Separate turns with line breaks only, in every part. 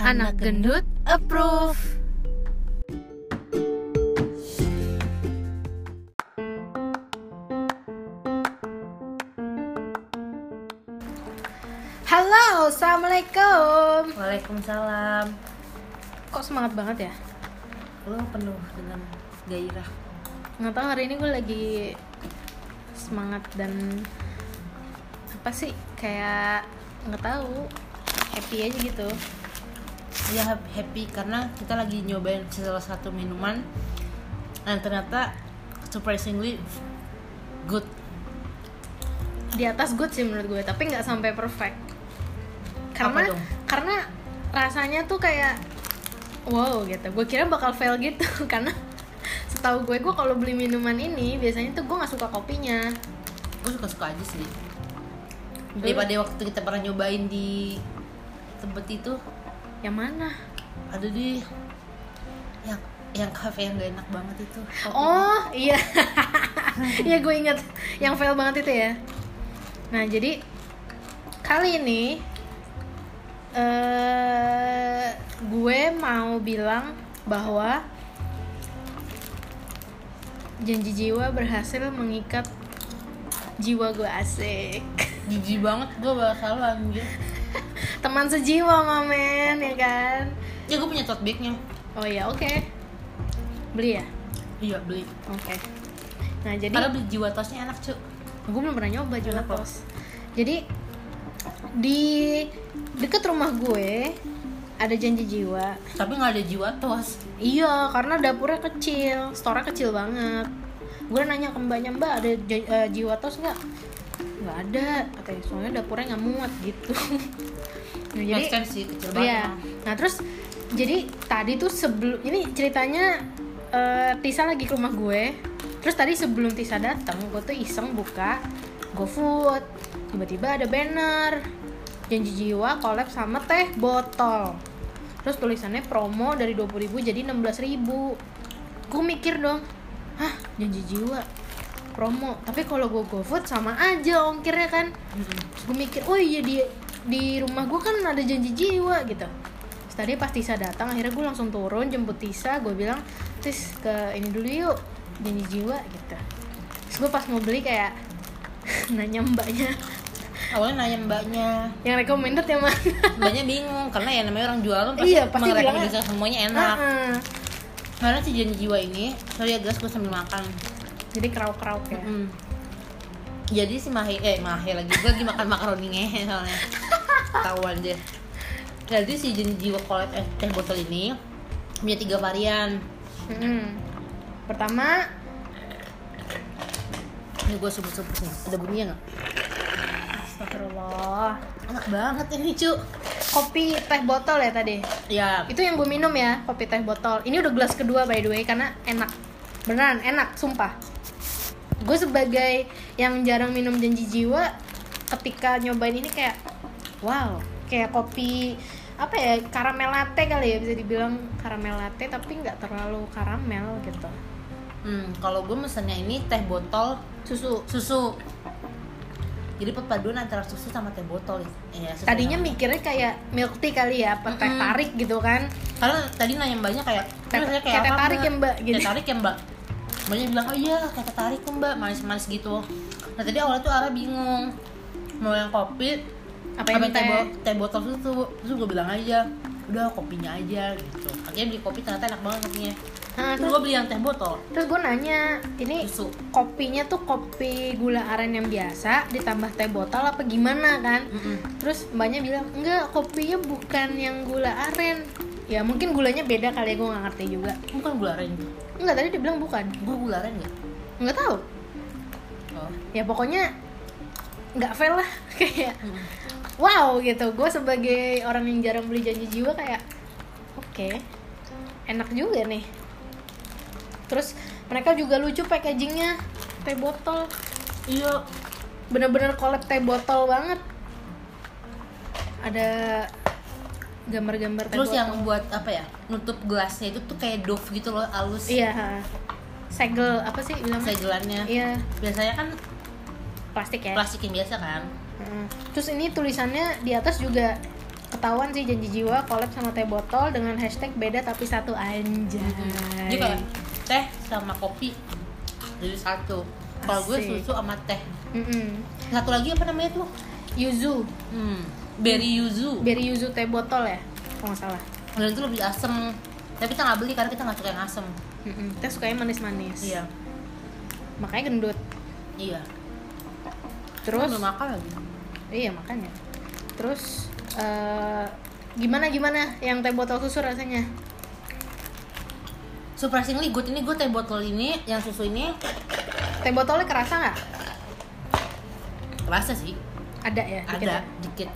Anak gendut approve. Halo, assalamualaikum.
Waalaikumsalam.
Kok semangat banget ya?
Lu penuh dengan gairah.
Nggak tahu hari ini gue lagi semangat dan apa sih kayak nggak tahu happy aja gitu.
Ya hap- happy karena kita lagi nyobain salah satu minuman dan ternyata surprisingly good.
Di atas good sih menurut gue, tapi nggak sampai perfect. Karena
Apa dong?
karena rasanya tuh kayak wow gitu. Gue kira bakal fail gitu karena setahu gue gue kalau beli minuman ini biasanya tuh gue nggak suka kopinya.
Gue suka-suka aja sih. Daripada waktu kita pernah nyobain di tempat itu
Yang mana?
ada di yang yang cafe yang gak enak banget itu.
Oh iya, iya gue inget yang fail banget itu ya. Nah jadi kali ini eh gue mau bilang bahwa janji jiwa berhasil mengikat jiwa gue asik.
Jijik banget gue bakal lu anjir.
Teman sejiwa momen ya kan?
Ya gue punya tote bagnya.
Oh iya oke, beli ya.
Iya beli.
Oke. Nah jadi
Karena beli jiwa tosnya enak cu.
gue belum pernah nyoba
Kenapa?
gelatos jadi di deket rumah gue ada janji jiwa
Tapi nggak ada jiwa tos.
iya karena dapurnya kecil store kecil banget gue nanya ke mbaknya mbak ada ja- eh, jiwa tos nggak nggak ada katanya soalnya dapurnya nggak muat gitu Nah,
Make sense sih kecil banget.
Iya.
emang.
Nah terus jadi tadi tuh sebelum ini ceritanya eh, Tisa lagi ke rumah gue. Terus tadi sebelum Tisa datang, gue tuh iseng buka GoFood. Tiba-tiba ada banner janji jiwa collab sama teh botol. Terus tulisannya promo dari 20.000 jadi 16.000. Gue mikir dong, hah janji jiwa promo. Tapi kalau gue GoFood sama aja ongkirnya kan.
Mm-mm.
Terus gue mikir oh iya di di rumah gue kan ada janji jiwa gitu Terus tadi pas Tisa datang akhirnya gue langsung turun jemput Tisa gue bilang Tis ke ini dulu yuk janji jiwa gitu terus gue pas mau beli kayak nanya mbaknya
Awalnya nanya mbaknya,
yang recommended yang mana
mbaknya bingung karena ya namanya orang jualan pasti, "Ah,
Iya, pasti
merekomendasikan semuanya enak.
Heeh.
Karena si janji jiwa ini, sorry ya gelas gue sambil makan.
jadi kerau kerau ya
Mm. Jadi si Mahe, eh Mahe lagi, gue lagi makan makaroni ngehe soalnya. Ketahuan deh. Jadi si janji jiwa collab eh, teh botol ini punya tiga varian.
Mm-mm. pertama
Ini gue sebut-sebut nih, ada bunyinya nggak?
Astagfirullah
Enak banget ini cu.
kopi teh botol ya tadi
Ya,
itu yang gue minum ya kopi teh botol ini udah gelas kedua by the way karena enak beneran enak sumpah gue sebagai yang jarang minum janji jiwa ketika nyobain ini kayak wow kayak kopi apa ya karamel latte kali ya bisa dibilang karamel latte tapi nggak terlalu karamel gitu
hmm, kalau gue mesennya ini teh botol
susu
susu jadi perpaduan antara susu sama teh botol ya Iya, sesuai
tadinya
sama-
mikirnya kayak milk tea kali ya apa teh
Mm-mm.
tarik gitu kan
karena tadi nanya mbaknya kayak
Teh-
"Terus saya
kayak teh
apa,
tarik ya, Mbak?"
Kayak
Gitu.
teh tarik ya mbak mbaknya bilang oh iya kayak teh tarik ya mbak manis-manis gitu nah tadi awalnya tuh Ara bingung mau yang kopi
apa yang
teh,
teh
bo- teh botol susu terus gue bilang aja udah kopinya aja gitu akhirnya beli kopi ternyata enak banget kopinya
Nah,
terus
terus
gue beli yang teh botol
Terus gue nanya, ini
Susu.
kopinya tuh kopi gula aren yang biasa ditambah teh botol apa gimana kan?
Mm-mm.
Terus mbaknya bilang, enggak kopinya bukan yang gula aren Ya mungkin gulanya beda kali ya, gue gak ngerti juga
bukan gula aren gitu
Enggak, tadi dia bilang bukan
gue gula aren nggak
Enggak tahu.
oh.
Ya pokoknya nggak fail lah Kayak wow gitu Gue sebagai orang yang jarang beli janji jiwa kayak Oke, enak juga nih Terus mereka juga lucu packagingnya Teh botol
iya
bener-bener collab teh botol banget ada gambar-gambar teh
Terus
botol.
yang buat apa ya? Nutup gelasnya itu tuh kayak dove gitu loh, halus.
iya ha. segel apa sih bilangnya
Segelannya.
iya
Biasanya kan
plastik ya
plastik yang biasa kan.
Heeh. terus ini tulisannya di atas juga ketahuan sih janji jiwa collab sama teh botol dengan hashtag beda tapi satu anjay.
Jadi kalau teh sama kopi jadi satu. Kalau gue
Asik.
susu sama teh.
Mm-mm.
Satu lagi apa namanya tuh?
Yuzu,
Hmm, berry yuzu.
berry yuzu teh botol ya, kalau nggak salah.
Dan itu lebih asem. Tapi kita nggak beli karena kita nggak suka yang asem.
Mm-mm. Teh sukanya manis-manis. Makanya gendut.
Iya.
Terus,
belum makan lagi.
iya makanya. Terus eh, gimana gimana yang teh botol susu rasanya?
Surprisingly good ini gue teh botol ini yang susu ini
Teh botolnya kerasa nggak?
rasa sih
Ada ya. dikit ya?
ada dikit.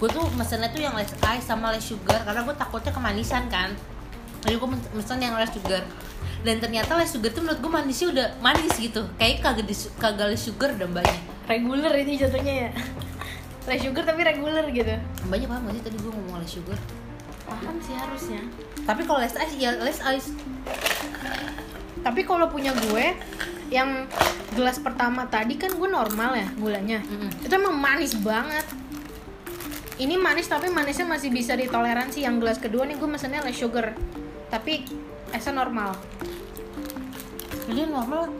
Gue tuh mesennya tuh yang less ice sama less sugar karena gue takutnya kemanisan kan. Jadi gue mesen yang less sugar. Dan ternyata less sugar tuh menurut gue manisnya udah manis gitu. Kayak kagak dis- kagak less sugar dan banyak.
Reguler ini jatuhnya ya. Less sugar tapi reguler gitu.
Banyak banget sih tadi gue ngomong less sugar.
Paham sih harusnya.
Tapi kalau less ice ya less ice
Tapi kalau punya gue yang gelas pertama tadi kan gue normal ya gulanya.
Mm-mm.
Itu emang manis banget. Ini manis tapi manisnya masih bisa ditoleransi. Yang gelas kedua nih gue mesennya less sugar. Tapi esnya normal.
Jadi normal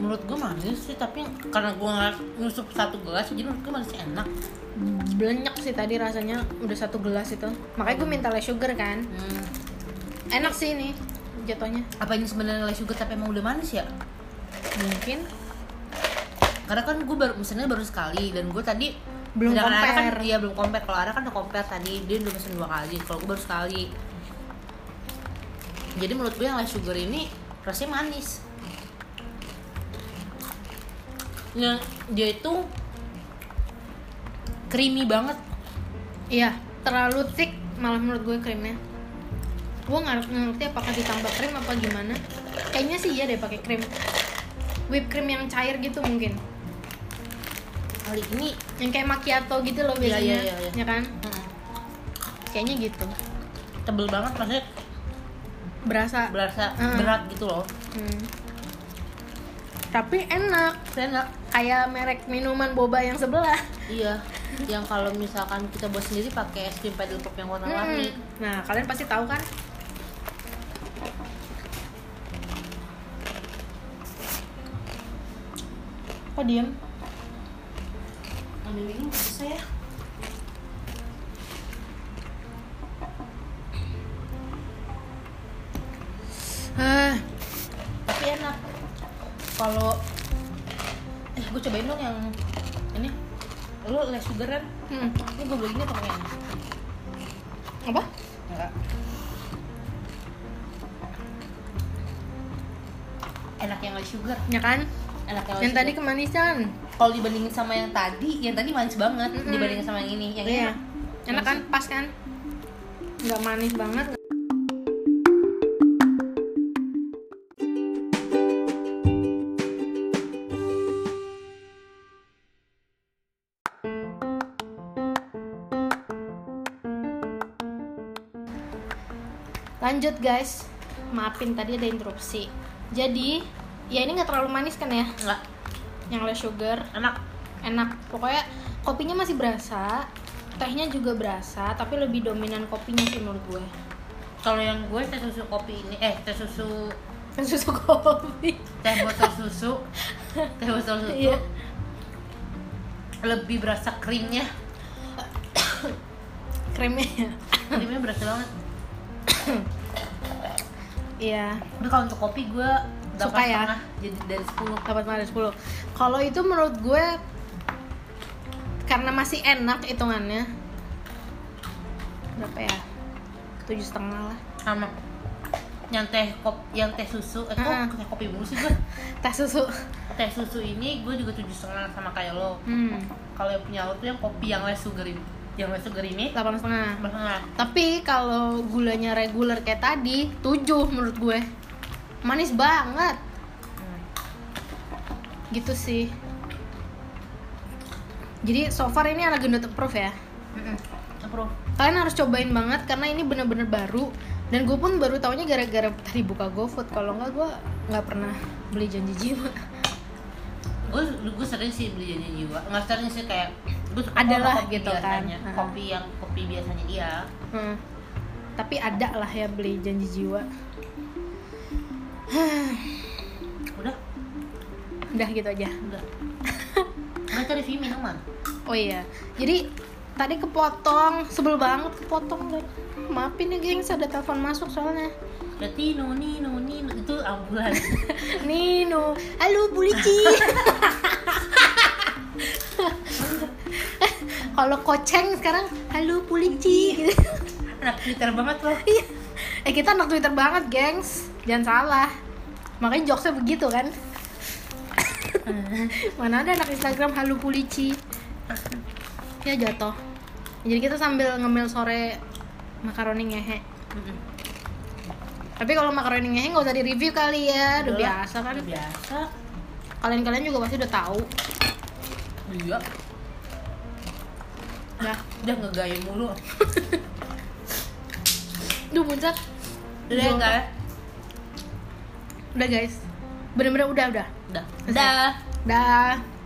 menurut gue manis sih tapi karena gue ngeras- nyusup satu gelas jadi menurut gue manisnya enak
Belenyek sih tadi rasanya udah satu gelas itu. Makanya gue minta less sugar kan.
hmm.
Enak sih ini jatuhnya.
apa ini sebenarnya less sugar tapi emang udah manis ya
Mungkin
karena kan gue baru misalnya baru sekali dan gue tadi
Belum
sedangkan Ara kan,
compare.
iya belum compare kalau Ara kan udah compare tadi dia udah pesen dua kali kalau gue baru sekali jadi menurut gue yang less sugar ini rasanya manis yang Nah, dia itu creamy banget
Iya, terlalu thick malah menurut gue krimnya. Gue nggak nggak ngerti apakah ditambah krim apa gimana. Kayaknya sih iya deh pakai krim. Whipped cream yang cair gitu mungkin.
kali ini
Yang kayak macchiato gitu loh biasanya.
Iya, iya, iya, iya.
Ya kan?
mm,
Kayaknya gitu.
tebel banget maksudnya
Berasa.
berasa
Mm.
berat gitu loh
Hmm. Tapi enak.
enak
Kayak merek minuman boba yang sebelah.
iya yang kalau misalkan kita buat sendiri pakai es krim paddle pop yang warna-warni
Mm-mm. Nah, kalian pasti tahu kan? Kok diem?
ambil minum susah ya
Ah,
tapi enak kalau eh gue cobain dong yang ini lu less sugaran
hmm.
ini gue beli ini atau yang ini?
apa?
enggak enak yang less sugar
Ya kan?
enak yang, less
Yang
sugar.
tadi kemanisan.
kalau dibandingin sama yang tadi yang tadi manis banget
Mm-mm.
dibandingin sama yang ini yang ini
Iya. Enak kan? Pas kan? Nggak manis banget. Lanjut guys, maafin tadi ada interupsi. Jadi, ya ini nggak terlalu manis kan ya?
enggak
Yang less sugar,
enak
enak pokoknya kopinya masih berasa tehnya juga berasa tapi lebih dominan kopinya sih menurut gue
kalau yang gue teh susu kopi ini eh teh susu
Dan Kan susu kopi
teh botol susu teh botol susu
Iya.
lebih berasa krimnya
krimnya ya
krimnya berasa banget
iya
tapi kalau untuk kopi gue
Suka
delapan
ya?
setengah jadi dari 10
dapat malah 10 kalau itu menurut gue karena masih enak hitungannya berapa ya tujuh setengah lah
sama yang teh kop yang teh susu eh kok
Ah.
teh kopi mulu sih gue
teh susu
teh susu ini gue juga tujuh setengah sama kayak lo
hmm
kalau yang punya lo tuh yang kopi yang less sugar ini yang less sugar ini
delapan setengah
delapan setengah
tapi kalau gulanya reguler kayak tadi 7 menurut gue manis banget
Hmm.
gitu sih jadi so far ini anak gendut approve ya
Mm-mm. approve
kalian harus cobain banget karena ini bener-bener baru dan gue pun baru taunya gara-gara tadi buka GoFood kalau nggak gue nggak pernah beli janji jiwa
gue gue sering sih beli janji jiwa nggak sering sih kayak gue suka
Adalah
sama kopi
gitu kan.
biasanya
Ah.
kopi yang kopi biasanya dia
Hmm. Tapi ada lah ya beli janji jiwa.
udah
Udah gitu aja.
udah nggak cari Vimi teman
Oh iya. Jadi tadi kepotong, sebel banget kepotong deh. Maafin ya gengs, ada telepon masuk soalnya.
berarti noni noni itu ambulan
Nino, halo Bulici. Kalau koceng sekarang, halo Bulici. Gitu.
anak Twitter banget loh
eh kita anak Twitter banget, gengs. Jangan salah. Makanya jokesnya begitu kan. Mana ada anak Instagram halo Pulici. Ya jatuh. Jadi kita sambil ngemil sore makaroni ngehe.
Mm-mm.
Tapi kalau makaroni ngehe nggak usah di review kali ya, udah
Udahlah.
biasa kan.
Iya. Udah biasa
Kalian-kalian juga pasti udah tahu.
iya
Dah.
udah ngegaya mulu
Duh puncak.
udah ya
Udah.
guys
Udah guys. Bener-bener udah udah.
udah udah
Dah.